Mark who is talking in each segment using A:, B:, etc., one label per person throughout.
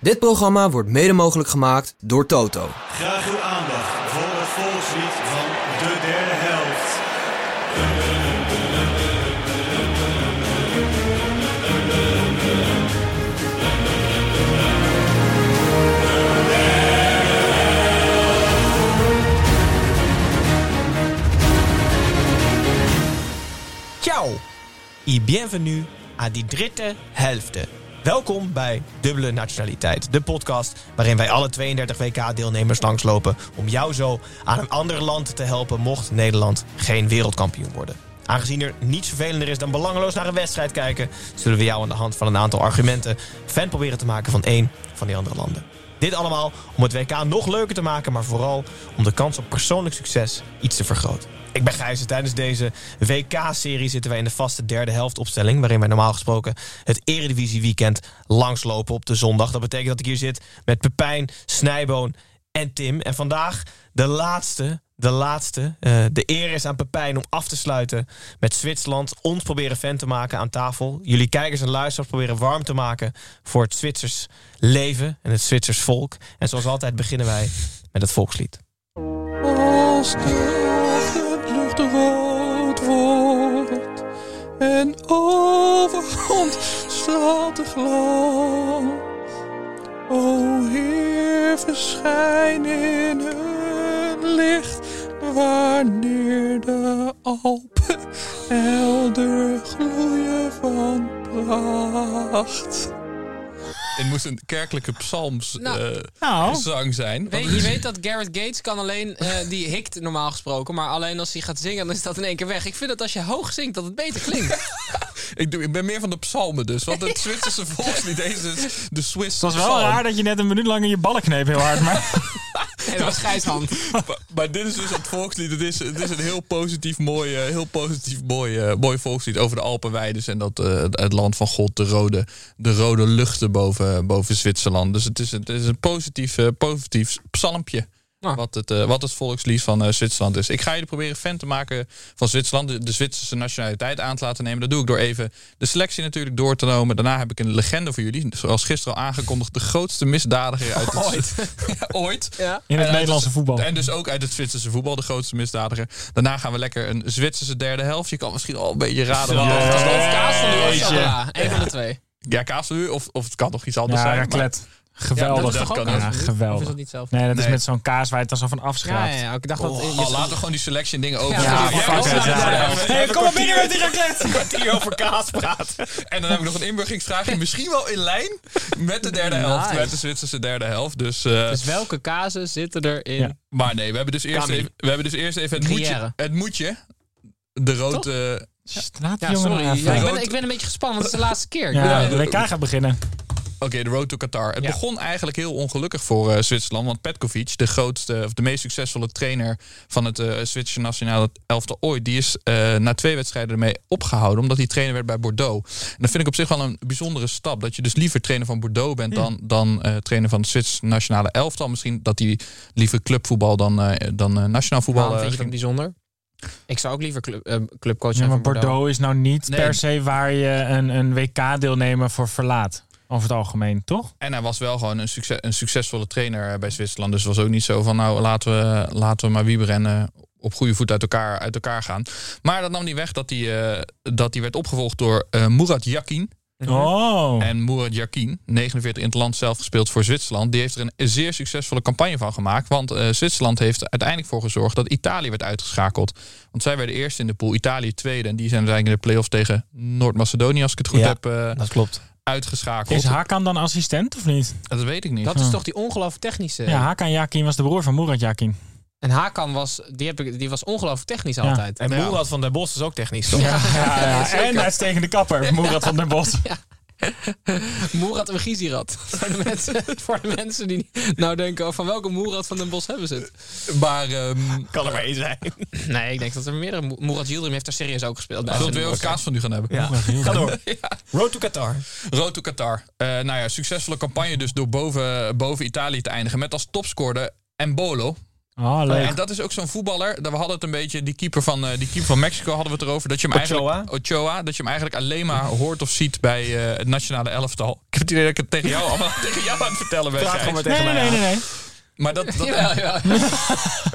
A: Dit programma wordt mede mogelijk gemaakt door Toto.
B: Graag uw aandacht voor het volkslied van de derde helft.
C: Ciao y bienvenue à die dritte helft. Welkom bij Dubbele Nationaliteit, de podcast waarin wij alle 32 WK-deelnemers langslopen om jou zo aan een ander land te helpen mocht Nederland geen wereldkampioen worden. Aangezien er niets vervelender is dan belangeloos naar een wedstrijd kijken, zullen we jou aan de hand van een aantal argumenten fan proberen te maken van één van die andere landen. Dit allemaal om het WK nog leuker te maken, maar vooral om de kans op persoonlijk succes iets te vergroten. Ik ben Gijs en tijdens deze WK-serie zitten wij in de vaste derde helftopstelling, waarin wij normaal gesproken het Eredivisie-weekend langslopen op de zondag. Dat betekent dat ik hier zit met Pepijn, Snijboon en Tim. En vandaag de laatste, de laatste. eh, de eer is aan Pepijn om af te sluiten met Zwitserland. Ons proberen fan te maken aan tafel. Jullie kijkers en luisteraars proberen warm te maken voor het Zwitsers leven en het Zwitsers volk. En zoals altijd beginnen wij met het volkslied.
D: Als de lucht rood wordt en over ons staat de glans. O Heer, verschijn in hun licht wanneer de Alpen helder gloeien van pracht.
E: Het moest een kerkelijke psalms
F: Nou.
E: eh, zang zijn.
F: Weet, je weet dat Garrett Gates kan alleen, eh, die hikt normaal gesproken, maar alleen als hij gaat zingen, dan is dat in één keer weg. Ik vind dat als je hoog zingt, dat het beter klinkt.
E: ik, doe, ik ben meer van de psalmen dus. Want het Zwitserse volkslied, deze is de Swiss
G: Het was wel raar dat je net een minuut lang in je ballen kneep heel hard. Maar
F: Nee, dat was Gijshand.
E: Maar, maar dit is dus het volkslied. Het is, het is een heel positief, mooi, eh, heel positief mooi, eh, mooi volkslied over de Alpenweides en dat, eh, het land van God, de rode, de rode luchten boven, boven Zwitserland. Dus het is, het is een positief, eh, positief psalmpje. Wat, het, eh, wat het volkslied van eh, Zwitserland is. Ik ga jullie proberen fan te maken van Zwitserland. De, de Zwitserse nationaliteit aan te laten nemen. Dat doe ik door even de selectie natuurlijk door te nemen. Daarna heb ik een legende voor jullie. Zoals gisteren al aangekondigd. De grootste misdadiger uit het, ooit. ooit.
G: in
E: En
G: het
E: uit
G: Nederlandse voetbal.
E: En dus ook uit het Zwitserse voetbal, de grootste misdadiger. Daarna gaan we lekker een Zwitserse derde helft. Je kan misschien al een beetje raden. wat het is.
F: Of kaas van de
G: Jeetje.
F: Ja, één van de twee.
E: Ja, kaasvuur, of, of het kan nog iets anders
G: Ja,
E: zijn. maar-
G: raclet.
E: Ja, dat
G: Geweldig.
E: is toch ook
G: Ja,
E: kaas?
F: Of is
G: geweldig.
F: dat niet zelf?
G: Nee, dat is
E: Nee.
G: met zo'n kaas waar je het dan zo van
F: Ja,
G: afschraapt.
F: ja, ja, ik dacht dat...
E: Oh, laten we gewoon die selection dingen over.
F: Ja, fuck
E: dat is
F: it,
E: de
F: ja.
E: derde helft.
G: Hey, kom maar binnen met die raclet!
E: kwartier over kaas praat. En dan heb ik nog een inburgingsvraagje. Misschien wel in lijn met de derde helft.
F: Nice.
E: Met de Zwitserse derde helft. Dus, eh,
F: Dus welke kazen zitten er in?
G: Ja.
E: Maar nee, we hebben dus eerst
F: Kami.
E: even, we hebben dus eerst even het,
F: Gruyère.
E: moedje, het moedje. De rode...
G: Straat
F: Ja,
G: jongen nou
F: sorry. Ja,
G: even.
F: ik,
G: Ja,
F: ben, ik ben een beetje gespannen, want het is de laatste keer.
G: de WK gaat beginnen.
E: Oké, de road to Qatar. Het
F: Ja.
E: begon eigenlijk heel ongelukkig voor eh, Zwitserland. Want Petkovic, de grootste, of de meest succesvolle trainer van het eh, Zwitserse nationale elftal ooit, die is eh, na twee wedstrijden ermee opgehouden. Omdat hij trainer werd bij Bordeaux. En dat vind ik op zich wel een bijzondere stap. Dat je dus liever trainer van Bordeaux
F: Mm.
E: bent dan, dan eh, trainer van het Zwitserse nationale elftal. Misschien dat hij liever clubvoetbal dan, eh, dan eh, nationaal voetbal.
F: Waarom
E: eh,
F: Ah, vind je dat
E: ging.
F: bijzonder? Ik zou ook liever club, eh, clubcoach
G: Ja,
F: zijn
G: maar
F: van Bordeaux.
G: Bordeaux is nou niet
E: Nee.
G: per se waar je een, een WK-deelnemer voor verlaat. Over het algemeen, toch?
E: En hij was wel gewoon een, succes, een succesvolle trainer eh, bij Zwitserland. Dus het was ook niet zo van nou laten we, laten we maar Wieber en eh, op goede voet uit elkaar, uit elkaar gaan. Maar dat nam niet weg dat hij, eh, dat hij werd opgevolgd door eh Murat Yakin.
F: Mhm.
G: Oh.
E: En Murat Yakin, 49 in het land zelf gespeeld voor Zwitserland. Die heeft er een zeer succesvolle campagne van gemaakt. Want eh, Zwitserland heeft er uiteindelijk voor gezorgd dat Italië werd uitgeschakeld. Want zij werden eerst in de pool, Italië tweede. En die zijn uiteindelijk in de play-offs tegen Noord-Macedonië, als ik het goed
G: Ja. Nou,
E: heb, eh,
F: Dat klopt.
E: uitgeschakeld.
G: Is Hakan dan assistent of niet?
E: Dat weet ik niet.
F: Dat is toch die ongelooflijk technische...
G: Ja, Hakan Yakin was de broer van Murat Yakin.
F: En Hakan was, die heb ik, die was ongelooflijk technisch
G: Ja.
F: altijd. En
E: Ja.
F: Moerad van der Bos is ook technisch, toch?
G: Ja, ja, En uitstekende kapper, Murat van den Bos.
F: Moerad en Giezirat. voor, de mensen, voor de mensen die nou denken, oh, van welke Moerad van Den Bos hebben ze het?
E: Maar ehm
C: Kan er maar één zijn.
F: Nee, ik denk dat er meerdere... Mo- Moerad Yildirim heeft daar serieus ook gespeeld. bij.
E: zullen we weer wat kaas van u gaan hebben?
C: Ja. Ga door. Road to Qatar.
E: Road to Qatar. Eh, nou ja, succesvolle campagne dus door boven, boven Italië te eindigen. Met als topscorer Embolo.
G: Oh, leuk.
E: En dat is ook zo'n voetballer. dat- We hadden het een beetje, die keeper van, eh, die keeper van Mexico hadden we het erover. Dat je hem
C: Ochoa.
E: eigenlijk, Ochoa, dat je hem eigenlijk alleen maar hoort of ziet bij eh, het nationale elftal. Ik heb het idee dat ik het tegen jou, allemaal, tegen jou aan het vertellen ben. Gijs.
G: Nee, nee, nee, nee, nee.
E: Maar dat, dat
F: Jawel, jawel.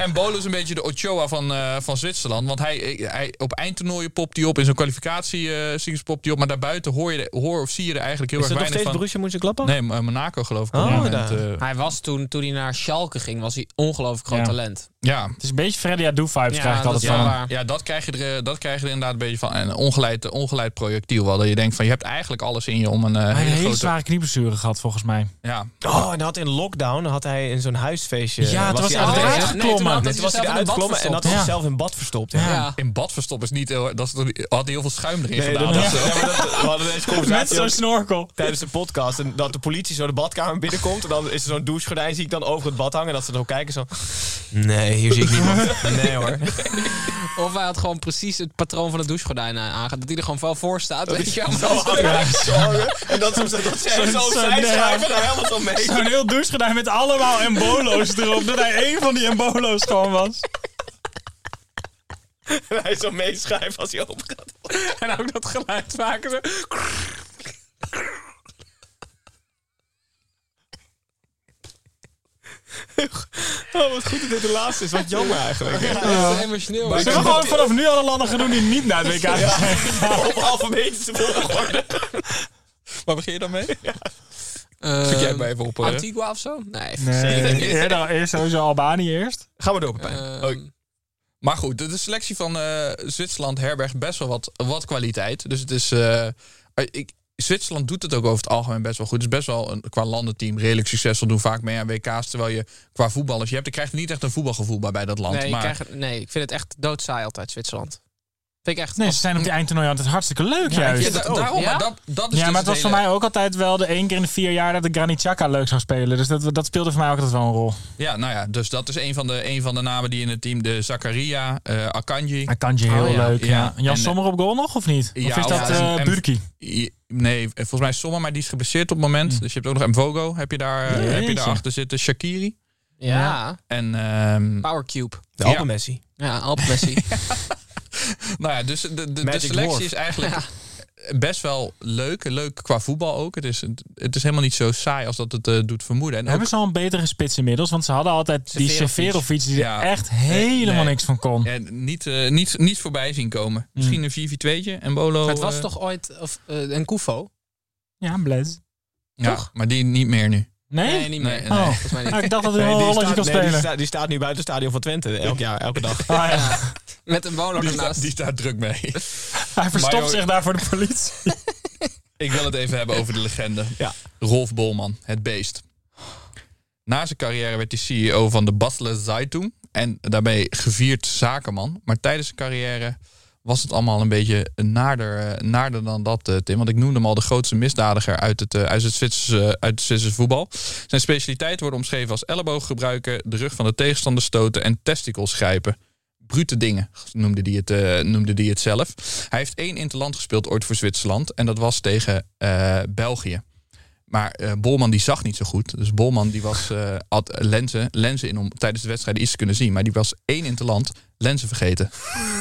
E: en Bolo is een beetje de Ochoa van, eh, van Zwitserland. Want hij, eh, hij, op eindtoernooien popt hij op. In zo'n kwalificatie eh singles popt hij op. Maar daarbuiten hoor, je, hoor of zie je er eigenlijk heel
C: Is
E: erg
C: het nog steeds
E: weinig
C: Borussia
E: van.
C: Mönchengladbach?
E: Nee, maar Monaco geloof ik. op
C: Oh,
E: dit moment,
C: daar.
E: eh,
F: Hij was toen, toen hij naar Schalke ging, was hij ongelooflijk groot
G: Ja.
F: talent.
E: ja.
G: Het is een beetje Freddy Adu-vibes
F: Ja,
G: krijg ik
F: dat
G: altijd
F: is wel
G: van.
F: waar.
E: Ja, ja dat, krijg je er, eh, dat krijg je er inderdaad een beetje van. En Een ongeleid, ongeleid projectiel wel. Dat je denkt van je hebt eigenlijk alles in je om een eh,
G: Hij heeft
E: hele
G: een hele
E: grote...
G: zware knieblessure gehad, volgens mij.
E: Ja,
C: Oh, en had in lockdown had hij in zo'n huisfeestje.
G: Ja, het was
C: hij aan
G: echt
C: het
G: raar.
C: reizen.
G: uitgeklommen.
F: Nee, toen
C: Nee, toen was
F: had hij zichzelf
C: hij
F: in een bad
C: uitgeklommen en had hij
G: Ja.
C: zichzelf in bad verstopt.
F: verstopt.
C: Ja.
F: Ja.
E: in badverstop is niet heel... Dat is, toch- had hij heel veel schuim erin
C: Nee,
E: gedaan.
C: dat-
E: of zo.
C: ja, maar dat- we hadden deze
G: Met
C: conversatie
G: zo'n
C: ook
G: snorkel.
C: tijdens de podcast. En dat de politie zo de badkamer binnenkomt. En dan is er zo'n douchegordijn, zie ik dan over het bad hangen. En dat ze dan kijken zo... Nee, hier zie ik niemand. Nee hoor.
F: Of hij had gewoon precies het patroon van het douchegordijn eh, aangehaald. Dat hij er gewoon wel voor staat. Weet je wel.
C: Oh, En dat ze dat ze zo
G: zo-
C: zij
G: nee.
C: schuiven er helemaal zo mee.
G: Zo'n heel douchegedijn met allemaal embolo's erop. Dat hij één van die embolo's gewoon was.
C: En hij zo meeschuift als hij open gaat.
F: En ook dat geluid maken. Zo.
C: Oh, wat goed dat dit de laatste is. Wat jammer eigenlijk.
F: Dat is emotioneel.
G: Ze hebben gewoon vanaf nu alle landen gaan doen die niet naar het WK zijn.
C: Op alfabetische volgorde.
E: Waar begin je dan
C: Ehm,
E: mee?
F: Eh,
E: Zoek jij maar even op, hoor.
F: Antigua of zo? Nee.
G: Nee, eerder, al- eerst sowieso Albanië eerst.
C: Ga maar door, Pepijn.
F: Ehm,
E: Oh, Maar goed, de, de selectie van eh, Zwitserland herbergt best wel wat, wat kwaliteit. Dus het is. eh, ik, Zwitserland doet het ook over het algemeen best wel goed. Het is best wel een, qua landenteam redelijk succesvol. Doen vaak mee aan WK's. Terwijl je qua voetballers. Je, hebt, je krijgt niet echt een voetbalgevoel bij, bij dat land.
F: nee, ik
E: maar
F: krijg het- nee, ik vind het echt doodsaai altijd, Zwitserland. Vind ik echt...
G: Nee, ze zijn op die eindtoernooi altijd hartstikke leuk
E: Ja,
G: juist.
E: da- daarom,
F: Ja?
E: maar dat, dat is dus
G: Ja, maar het was voor
E: hele-
G: mij ook altijd wel de één keer in de vier jaar dat ik Granit Xhaka leuk zou spelen. Dus dat, dat speelde voor mij ook altijd wel een rol.
E: Ja, nou ja, dus dat is een van de, een van de namen die in het team. De Zakaria, eh Akanji.
G: Akanji, heel
F: Oh, ja.
G: leuk. Ja.
E: Ja.
G: Jan
E: En,
G: Sommer op goal nog, of niet?
E: Ja,
G: of is
E: ja,
G: dat eh
E: en-
G: Burki?
E: I- Nee, eh, volgens mij Sommer, maar die is geblesseerd op het moment. Dus je hebt ook nog Mvogo. Heb je daar, eh, heb je
G: Jeetje.
E: daar achter zitten? Shakiri.
F: Ja,
E: En ehm,
F: Power Cube.
C: De
E: Ja.
C: Alpen Messi.
F: Ja, Alpmessi.
E: Nou ja, dus de, de, de
C: Magic
E: selectie
C: Dwarf.
E: is eigenlijk best wel leuk. Leuk qua voetbal ook. Het is, het is helemaal niet zo saai als dat het eh, doet vermoeden. En ook,
G: Hebben ze al een betere spits inmiddels? Want ze hadden altijd die
F: Severovic.
G: Severovic die
E: Ja.
G: er echt helemaal
E: nee.
G: niks van kon.
E: eh, niet, eh, niet, niet voorbij zien komen. Misschien een 4-4-2'tje en Bolo.
F: het was
E: eh,
F: toch ooit of, eh, een Kufo?
G: Ja, Blaise.
E: ja,
F: toch?
E: Maar die niet meer nu.
G: Nee?
F: Nee, niet meer.
E: Nee,
F: Nee,
E: nee.
F: volgens mij niet.
G: Ah, ik dacht dat hij wel een
C: die,
G: rolletje
C: staat,
G: kon
C: nee, die,
G: spelen.
C: staat, die staat nu buiten het stadion van Twente. Elk jaar, elke dag.
G: Ah, ja.
F: Met een bolo
E: Die staat,
F: ernaast.
E: die staat druk mee.
G: Hij
E: Maar joh-
G: verstopt zich daar voor de politie.
E: Ik wil het even hebben over de legende.
C: Ja.
E: Rolf Bolman, het beest. Na zijn carrière werd hij CEO van de Basler Zeitung. En daarmee gevierd zakenman. Maar tijdens zijn carrière was het allemaal een beetje naarder, eh, naarder dan dat, eh, Tim. Want ik noemde hem al de grootste misdadiger uit het, eh, uit het, Zwitserse, uit het Zwitserse voetbal. Zijn specialiteit wordt omschreven als elleboog gebruiken... de rug van de tegenstander stoten en testicles grijpen. Brute dingen, noemde hij het, eh, noemde die het zelf. Hij heeft één interland gespeeld ooit voor Zwitserland. En dat was tegen eh, België. Maar eh, Bolman die zag niet zo goed. Dus Bolman die was, eh, had lenzen, lenzen in om tijdens de wedstrijd iets te kunnen zien. Maar die was één interland lenzen vergeten.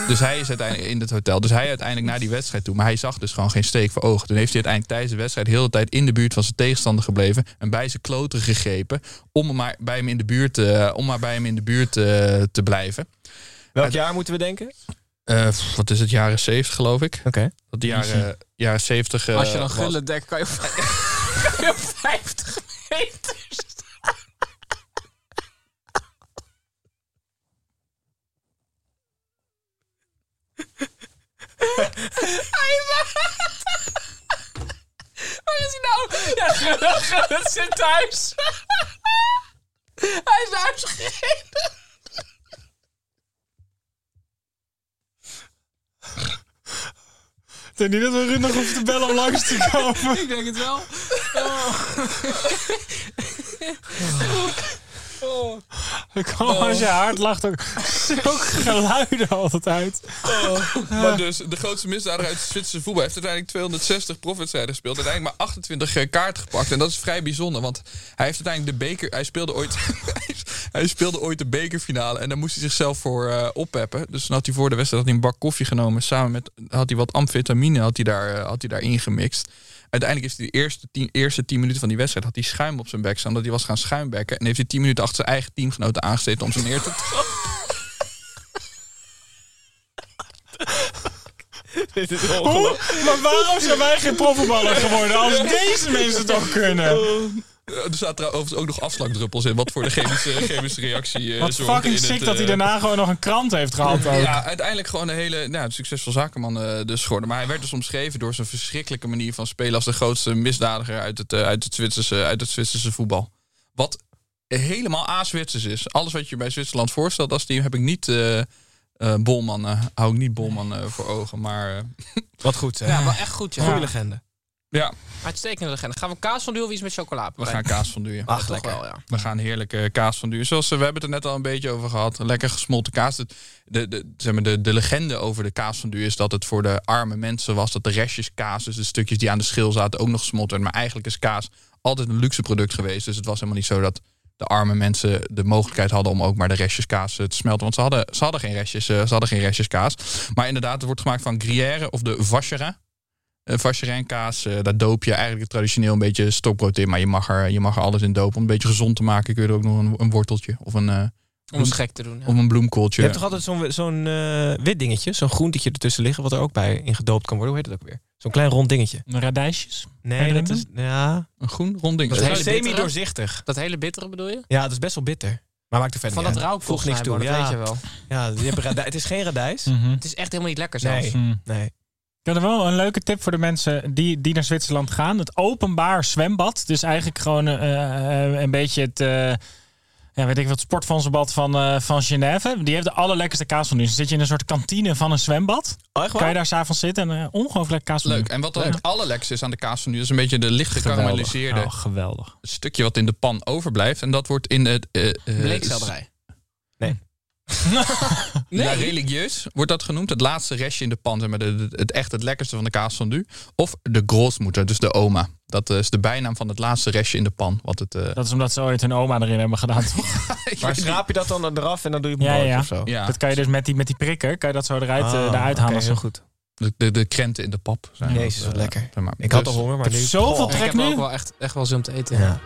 E: Dus hij is uiteindelijk in het hotel. Dus hij uiteindelijk naar die wedstrijd toe. Maar hij zag dus gewoon geen steek voor ogen. Toen heeft hij uiteindelijk tijdens de wedstrijd heel de tijd in de buurt van zijn tegenstander gebleven. En bij zijn kloten gegrepen. Om hem maar bij hem in de buurt, eh, om maar bij hem in de buurt eh, te blijven.
C: Welk jaar moeten we denken?
E: Eh, pff, wat is het, jaren 70 geloof ik.
C: Oké.
E: Dat de jaren, jaren 70. eh,
F: Als je dan
E: was.
F: gullen dekt, kan je op kan je op 50 meter staan. Hij wa- Waar is hij nou? Ja, gullen, gullen zit thuis. Hij is huisgegeten.
G: denk niet dat we Ruud nog hoeven te bellen om langs te komen.
F: Ik denk het wel. Oh. Oh.
G: Kom, als je hard lacht ook zulke geluiden altijd uit.
E: Maar dus, de grootste misdadiger uit het Zwitserse voetbal heeft uiteindelijk 260 profwedstrijden gespeeld. Uiteindelijk maar 28 eh, kaart gepakt. En dat is vrij bijzonder, want hij heeft uiteindelijk de beker... Hij speelde ooit, hij speelde ooit de bekerfinale en daar moest hij zichzelf voor eh, oppeppen. Dus dan had hij voor de wedstrijd had hij een bak koffie genomen. Samen met, had hij wat amfetamine had hij daar, eh, had hij daar ingemixt. Uiteindelijk is hij de eerste tien, eerste tien minuten van die wedstrijd... had hij schuim op zijn bek staan, dat hij was gaan schuimbekken. En heeft hij tien minuten achter zijn eigen teamgenoten aangesteten om ze neer te
C: Dit is
G: Hoe?
C: ongelooflijk.
G: Maar waarom zijn wij geen profvoetballer geworden als deze mensen toch kunnen?
E: Eh, Er zaten trouwens overigens ook nog afslagdruppels in, wat voor de chemische, chemische reactie eh
G: Wat
E: zorgde
G: fucking
E: in het,
G: sick dat hij
E: eh,
G: daarna gewoon nog een krant heeft gehad ook.
E: Ja, uiteindelijk gewoon een hele nou, een succesvol zakenman eh, dus geworden. Maar hij werd dus omschreven door zijn verschrikkelijke manier van spelen als de grootste misdadiger uit het, eh, uit het, Zwitserse, uit het Zwitserse voetbal. Wat helemaal a-Zwitsers is. Alles wat je bij Zwitserland voorstelt als team heb ik niet... eh, eh, Bolman, eh, hou ik niet Bolman eh, voor ogen, maar eh,
C: Wat goed, hè?
F: Ja, maar echt goed, ja.
C: Goeie legende.
E: ja,
F: Uitstekende legende. Gaan we kaas van of iets met chocola?
E: we gaan kaas van duwen.
F: Ach, lekker. Wel, ja.
E: We gaan heerlijke kaas van duur. Zoals eh, we hebben het er net al een beetje over gehad. Lekker gesmolten kaas. De, de, de, zeg maar, de, de legende over de kaas van duur is dat het voor de arme mensen was. Dat de restjes kaas, dus de stukjes die aan de schil zaten, ook nog gesmolten werden. Maar eigenlijk is kaas altijd een luxe product geweest. Dus het was helemaal niet zo dat de arme mensen de mogelijkheid hadden om ook maar de restjes kaas eh, te smelten. Want ze hadden, ze hadden, geen, restjes, eh, ze hadden geen restjes kaas. Maar inderdaad, het wordt gemaakt van gruyère of de vacherin. Eh, Vacherijnkaas, eh, daar doop je eigenlijk traditioneel een beetje stokbrood in. Maar je mag, er, je mag er alles in dopen. Om een beetje gezond te maken kun je er ook nog een, een worteltje of een, eh,
F: Om het gek te doen. ja.
E: of een bloemkooltje.
C: Je hebt toch altijd zo'n zo'n eh, wit dingetje, zo'n groentetje ertussen liggen, wat er ook bij ingedoopt kan worden. Hoe heet dat ook weer? Zo'n klein rond dingetje.
G: Radijsjes?
C: Nee, dat is. Ja.
E: Een groen rond ding.
C: Dat
F: Dat
C: is
F: hele bittere?
C: semi-doorzichtig.
F: Dat hele bittere bedoel je?
C: Ja, dat is best wel bitter. Maar maakt er verder
F: Van
C: niet
F: dat
C: uit.
F: rauw
C: Voegt niks toe.
F: Dat
C: ja.
F: weet je wel.
C: Ja, je hebt radij- het is geen radijs.
G: Mhm.
F: Het is echt helemaal niet lekker zelfs.
C: Nee.
G: Hm.
C: nee.
G: Ik had er wel een leuke tip voor de mensen die, die naar Zwitserland gaan. Het openbaar zwembad. Dus eigenlijk gewoon eh, eh, een beetje het... eh, ja, weet ik wat, sportfondsbad van, eh, van Genève. Die heeft de allerlekkerste kaas van nu. Dan zit je in een soort kantine van een zwembad.
C: Oh, echt
G: Kan je
C: waar?
G: daar s'avonds zitten en eh, ongelooflijk lekker kaas van
E: Leuk.
G: nu.
E: En wat dan het allerlekste is aan de kaas van nu, is een beetje de licht gekarameliseerde
G: Oh, geweldig.
E: stukje wat in de pan overblijft. En dat wordt in het. eh, eh,
F: Bleekselderij.
E: Ja, religieus wordt dat genoemd. Het laatste restje in de pan, zeg maar, de- de- het echt het lekkerste van de kaas fondue. Of de grootmoeder, dus de oma. Dat eh, is de bijnaam van het laatste restje in de pan. Wat het, eh,
G: Dat is omdat ze ooit hun oma erin hebben gedaan, toch?
E: ik
C: Maar
E: weet niet.
C: schraap je dat dan eraf en dan doe je het
G: Ja,
C: brood
G: ja.
C: of zo?
E: Ja.
G: Dat kan je dus met die, met die prikker, kan je dat zo eruit, eh, eruit halen.
C: Heel goed.
E: De, de, de krenten in de pap. Zijn
C: Jezus,
E: dat,
C: wat
E: eh,
C: lekker.
E: zeg maar.
C: Ik had
E: Dus-
C: al honger, maar
G: Ik
C: nu...
G: heb zoveel
C: Oh.
F: Ik
G: trek
F: heb er
G: nu.
F: ook wel echt, echt wel zin om te eten.
C: Ja.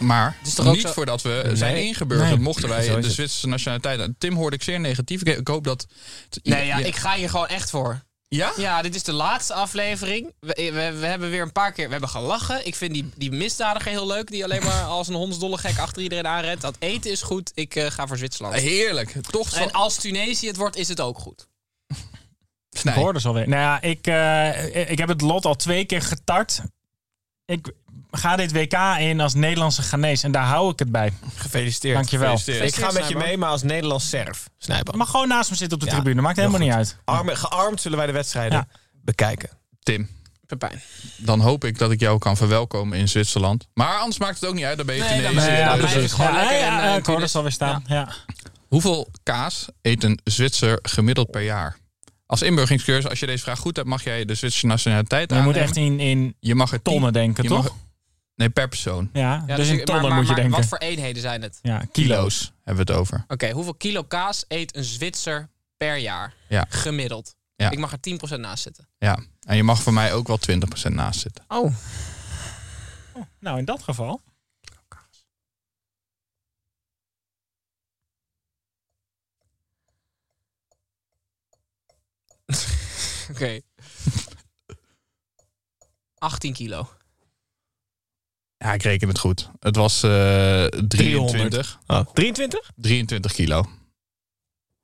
E: Maar
F: is toch ook
E: niet
F: zo-
E: voordat we zijn ingeburgerd,
G: Nee.
E: mochten wij
C: Zo is
E: de
C: het.
E: Zwitserse nationaliteit. Tim hoorde ik zeer negatief. Ik- Ik hoop dat.
F: Nee, ja, ik ga hier gewoon echt voor.
E: Ja?
F: Ja, dit is de laatste aflevering. We, we, we hebben weer een paar keer we hebben gelachen. Ik vind die, die misdadiger heel leuk. Die alleen maar als een hondsdolle gek achter iedereen aanrent. Dat eten is goed. Ik eh, ga voor Zwitserland.
E: Heerlijk. Toch van.
F: En als Tunesië het wordt, is het ook goed.
G: Ik hoorde ze alweer. Nou ja, ik, eh, ik heb het lot al twee keer getart. Ik ga dit WK in als Nederlandse Ghanese en daar hou ik het bij.
C: Gefeliciteerd.
G: Dankjewel.
C: Ik ga met je
F: Snijboon.
C: mee, maar als Nederlands serf. Snijboon.
G: Maar gewoon naast me zitten op de
C: Ja,
G: tribune, maakt
C: heel
G: helemaal niet uit.
C: Arme, gearmd zullen wij de wedstrijden bekijken.
E: Tim,
F: Pepijn.
E: dan hoop ik dat ik jou kan verwelkomen in Zwitserland. Maar anders maakt het ook niet uit. Dan ben je
F: Nee,
E: Tunesië.
F: dan ben je-
E: Ja,
F: dan
E: dus
F: ben je-
E: het-
F: gewoon
G: ja,
F: lekker
G: ja,
F: in, eh,
G: ja, ik
F: Tunis.
G: hoorde ze alweer staan. Ja.
E: Hoeveel kaas eet een Zwitser gemiddeld per jaar? Als inburgingscursus, als je deze vraag goed hebt, mag jij de Zwitserse nationaliteit
G: Je moet
E: aannemen.
G: echt in, in
E: Je mag er tien-
G: tonnen denken,
E: je
G: toch?
E: mag- Nee, per persoon.
G: Ja,
F: Ja,
G: dus in
F: ik-
G: tonnen
F: maar- maar-
G: moet je
F: maar
G: denken.
F: Wat voor eenheden zijn het?
G: Ja, kilo's.
E: Kilo's hebben we het over.
F: Oké, hoeveel kilo kaas eet een Zwitser per jaar?
E: Ja.
F: Gemiddeld.
E: Ja.
F: Ik mag er 10% naast zitten.
E: Ja. En je mag voor mij ook wel 20% naast zitten.
F: Oh.
G: Nou, in dat geval.
F: Oké. 18 kilo.
E: Ja, ik reken het goed. Het was eh 23,
C: Oh. 23?
E: 23 kilo.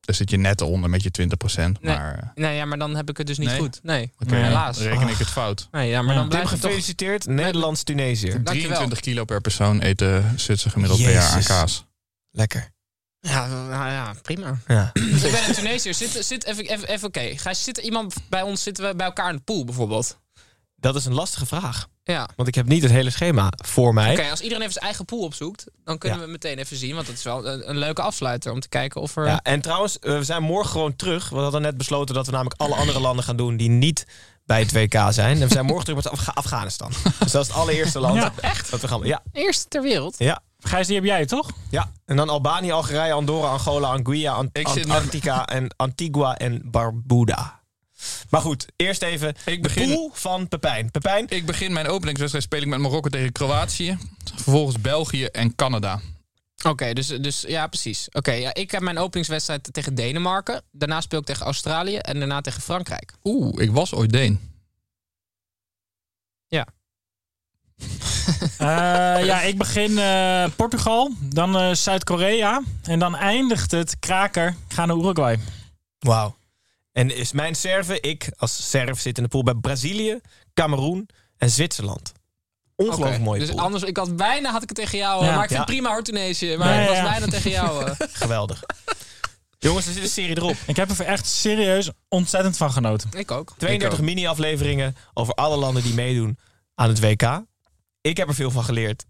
E: Daar zit je net onder met je 20%.
F: Nee.
E: Maar eh,
F: Nee, ja, maar dan heb ik het dus niet
E: Nee?
F: goed. Nee,
E: oké,
G: Nee.
F: helaas.
E: dan reken ik het fout.
F: Nee, ja, maar
G: Ja.
F: dan
C: Tim,
F: blijf ik toch...
C: gefeliciteerd. Nederlands-Tunesië.
F: Dankjewel.
E: 23 kilo per persoon eet de Zwitser gemiddeld per jaar aan
C: Jezus.
E: kaas.
C: Lekker.
F: Ja, nou ja, prima.
C: Ja.
F: Ik ben een Tunesiër. Zit, zit even, even, even oké. Gijs, Zit er iemand bij ons, zitten we bij elkaar in de pool bijvoorbeeld?
C: Dat is een lastige vraag.
F: Ja.
C: Want ik heb niet het hele schema voor mij.
F: Oké, als iedereen even zijn eigen pool opzoekt, dan kunnen
C: Ja.
F: we meteen even zien. Want dat is wel een, een leuke afsluiter om te kijken of er...
C: Ja, en trouwens, eh, we zijn morgen gewoon terug. We hadden net besloten dat we namelijk alle andere landen gaan doen die niet bij het WK zijn. En we zijn morgen terug met Afga- Afghanistan. Dus dat is het allereerste land. echt? Dat we gaan, ja,
F: Eerste ter wereld.
C: ja,
G: Gijs, die heb jij toch?
C: ja. En dan Albanië, Algerije, Andorra, Angola, Anguilla, Ant-
E: Ik zit
C: Antarctica en Antigua en Barbuda. Maar goed, eerst even
E: Ik
C: de
E: begin-
C: pool van Pepijn. Pepijn,
E: Ik begin mijn openingswedstrijd speel ik met Marokko tegen Kroatië. Vervolgens België en Canada.
F: Oké, dus, dus ja, precies. Oké, ja, ik heb mijn openingswedstrijd tegen Denemarken. Daarna speel ik tegen Australië en daarna tegen Frankrijk.
E: Oeh, ik was ooit Deen.
G: Eh, ja, ik begin eh, Portugal, dan eh, Zuid-Korea en dan eindigt het kraker. Ik ga naar Uruguay.
C: Wauw. En is mijn Serve, ik als Serv zit in de pool bij Brazilië, Cameroen en Zwitserland. Ongelooflijk
F: Oké,
C: mooie
F: Dus
C: pool.
F: anders, ik had bijna had ik het tegen jou. eh,
G: Ja.
F: Maar ik vind
C: Ja.
F: prima hoor, Tunesië. Maar
G: Ja,
F: het was
G: ja.
F: bijna tegen jou. eh.
C: Geweldig. Jongens, er zit een serie erop.
G: Ik heb er echt serieus ontzettend van genoten.
F: ik ook.
C: 32 mini-afleveringen over alle landen die meedoen aan het WK. Ik heb er veel van geleerd.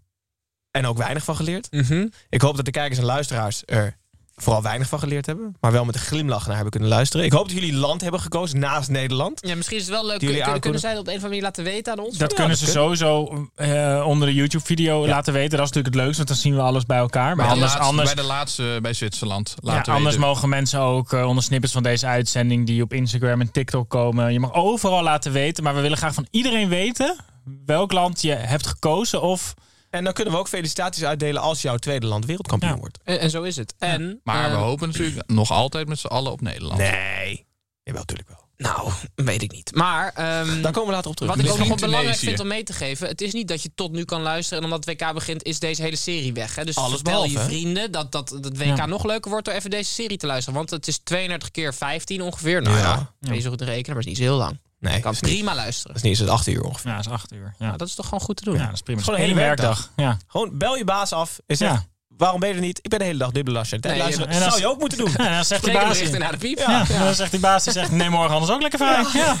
C: En ook weinig van geleerd.
F: Mhm.
C: Ik hoop dat de kijkers en luisteraars er vooral weinig van geleerd hebben. Maar wel met een glimlach naar hebben kunnen luisteren. Ik hoop dat jullie land hebben gekozen naast Nederland.
F: Ja, misschien is het wel leuk.
C: Die jullie
F: Kunnen,
C: aankomen.
F: kunnen zij dat op een of andere manier laten weten aan ons?
G: Dat
C: Ja,
G: kunnen
C: dat
G: ze sowieso eh, onder de YouTube-video laten weten. Dat is natuurlijk het leukst, want dan zien we alles bij elkaar.
E: Bij,
G: Maar anders,
E: de, laatste,
G: anders,
E: bij de laatste bij Zwitserland.
G: ja,
E: Laten
G: anders
E: weten.
G: mogen mensen ook eh, onder snippets van deze uitzending... die op Instagram en TikTok komen. Je mag overal laten weten, maar we willen graag van iedereen weten... welk land je hebt gekozen of...
C: En dan kunnen we ook felicitaties uitdelen als jouw tweede land wereldkampioen
G: Ja.
C: wordt.
F: En, en zo is het. En,
E: Maar we
F: eh,
E: hopen natuurlijk nog altijd met z'n allen op Nederland.
C: Nee. Jawel, natuurlijk wel.
F: Nou, weet ik niet. Maar ehm,
C: Daar komen we later op terug.
F: wat ik ook
E: Misschien
F: nog wel belangrijk
E: Tunesië.
F: vind om mee te geven... het is niet dat je tot nu kan luisteren... en omdat het WK begint is deze hele serie weg. Hè? Dus
C: Alles
F: vertel
C: behalve,
F: je
C: hè?
F: vrienden dat, dat het WK
G: Ja.
F: nog leuker wordt... door even deze serie te luisteren. Want het is 32 keer 15 ongeveer. Nou ja,
C: Ja.
F: ik weet niet zo goed te rekenen, maar het is niet zo heel lang.
C: nee,
F: Je kan
C: dat is niet,
F: prima
C: dat
F: luisteren.
C: is niet. Het is acht uur ongeveer.
G: Ja, dat is acht uur. Ja,
F: Nou,
G: dat,
F: dat is toch gewoon goed te doen.
G: ja, dat is prima.
C: Gewoon een hele
G: Eén
C: werkdag.
G: Ja.
C: Gewoon bel je baas af en zeg,
G: Ja.
C: waarom ben je er niet? Ik ben de hele dag dubbele lasje.
F: Nee,
C: luisteren.
G: en
C: dat
G: als-
C: zou je ook moeten doen.
G: Ja, en dan zegt de
F: Spreek
G: baas...
F: berichten naar de piep.
G: Ja, dan zegt die baas, die zegt, nee, morgen anders ook lekker vrij. Ja.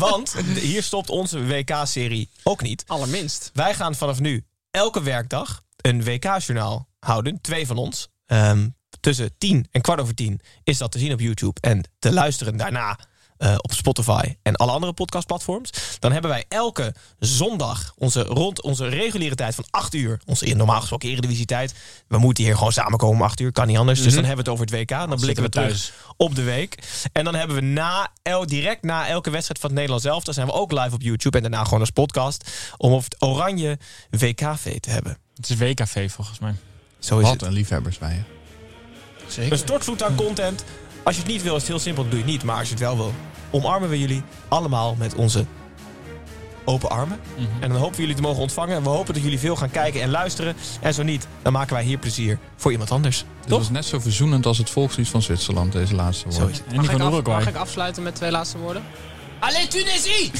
C: Want hier stopt onze WK-serie ook niet.
F: Allerminst.
C: Wij gaan vanaf nu elke werkdag een WK-journaal houden. Twee van ons. Ehm, tussen tien en kwart over tien is dat te zien op YouTube. En te luisteren daarna eh, op Spotify en alle andere podcastplatforms. Dan hebben wij elke zondag onze, rond onze reguliere tijd van acht uur. Onze normaal gesproken eredivisietijd. We moeten hier gewoon samenkomen om acht uur. Kan niet anders. Dus dan hebben we het over het WK. Dan blikken we
G: zitten we
C: terug op de week. En dan hebben we na, el, direct na elke wedstrijd van het Nederlands zelf... dan zijn we ook live op YouTube en daarna gewoon als podcast... om op het oranje WKV te hebben.
G: Het is WKV volgens mij.
C: Zo is
E: Wat
C: het.
E: een liefhebbers wij. hè.
C: Een stortvloed aan content. Als je het niet wil, is het heel simpel. Dan doe je het niet. Maar als je het wel wil, omarmen we jullie allemaal met onze open armen. En dan hopen we jullie te mogen ontvangen. En we hopen dat jullie veel gaan kijken en luisteren. En zo niet, dan maken wij hier plezier voor iemand anders.
E: Dit
C: Toch?
E: was net zo verzoenend als het volkslied van Zwitserland, deze laatste
C: Zo
E: woord.
C: is het.
G: En die
F: Mag
G: van
F: ik, af-
G: Uruguay.
F: mag ik afsluiten met twee laatste woorden? Allee Tunisie!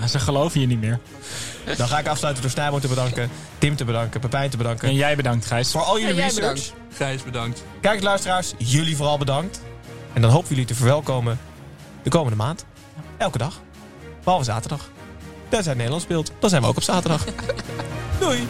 G: Ja, Ze geloven je niet meer.
C: Dan ga ik afsluiten door Snijboom te bedanken, Tim te bedanken, Pepijn te bedanken.
G: En jij bedankt, Gijs.
C: Voor al jullie
F: En jij
C: research.
F: bedankt.
E: Gijs, bedankt.
C: Kijk, luisteraars, jullie vooral bedankt. En dan hopen we jullie te verwelkomen de komende maand. Elke dag. Behalve zaterdag. Tenzij Nederland speelt, dan zijn we ook op zaterdag. Doei!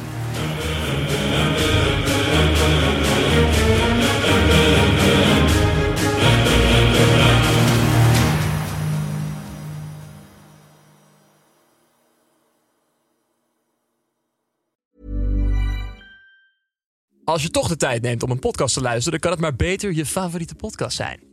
H: Als je toch de tijd neemt om een podcast te luisteren, dan kan het maar beter je favoriete podcast zijn.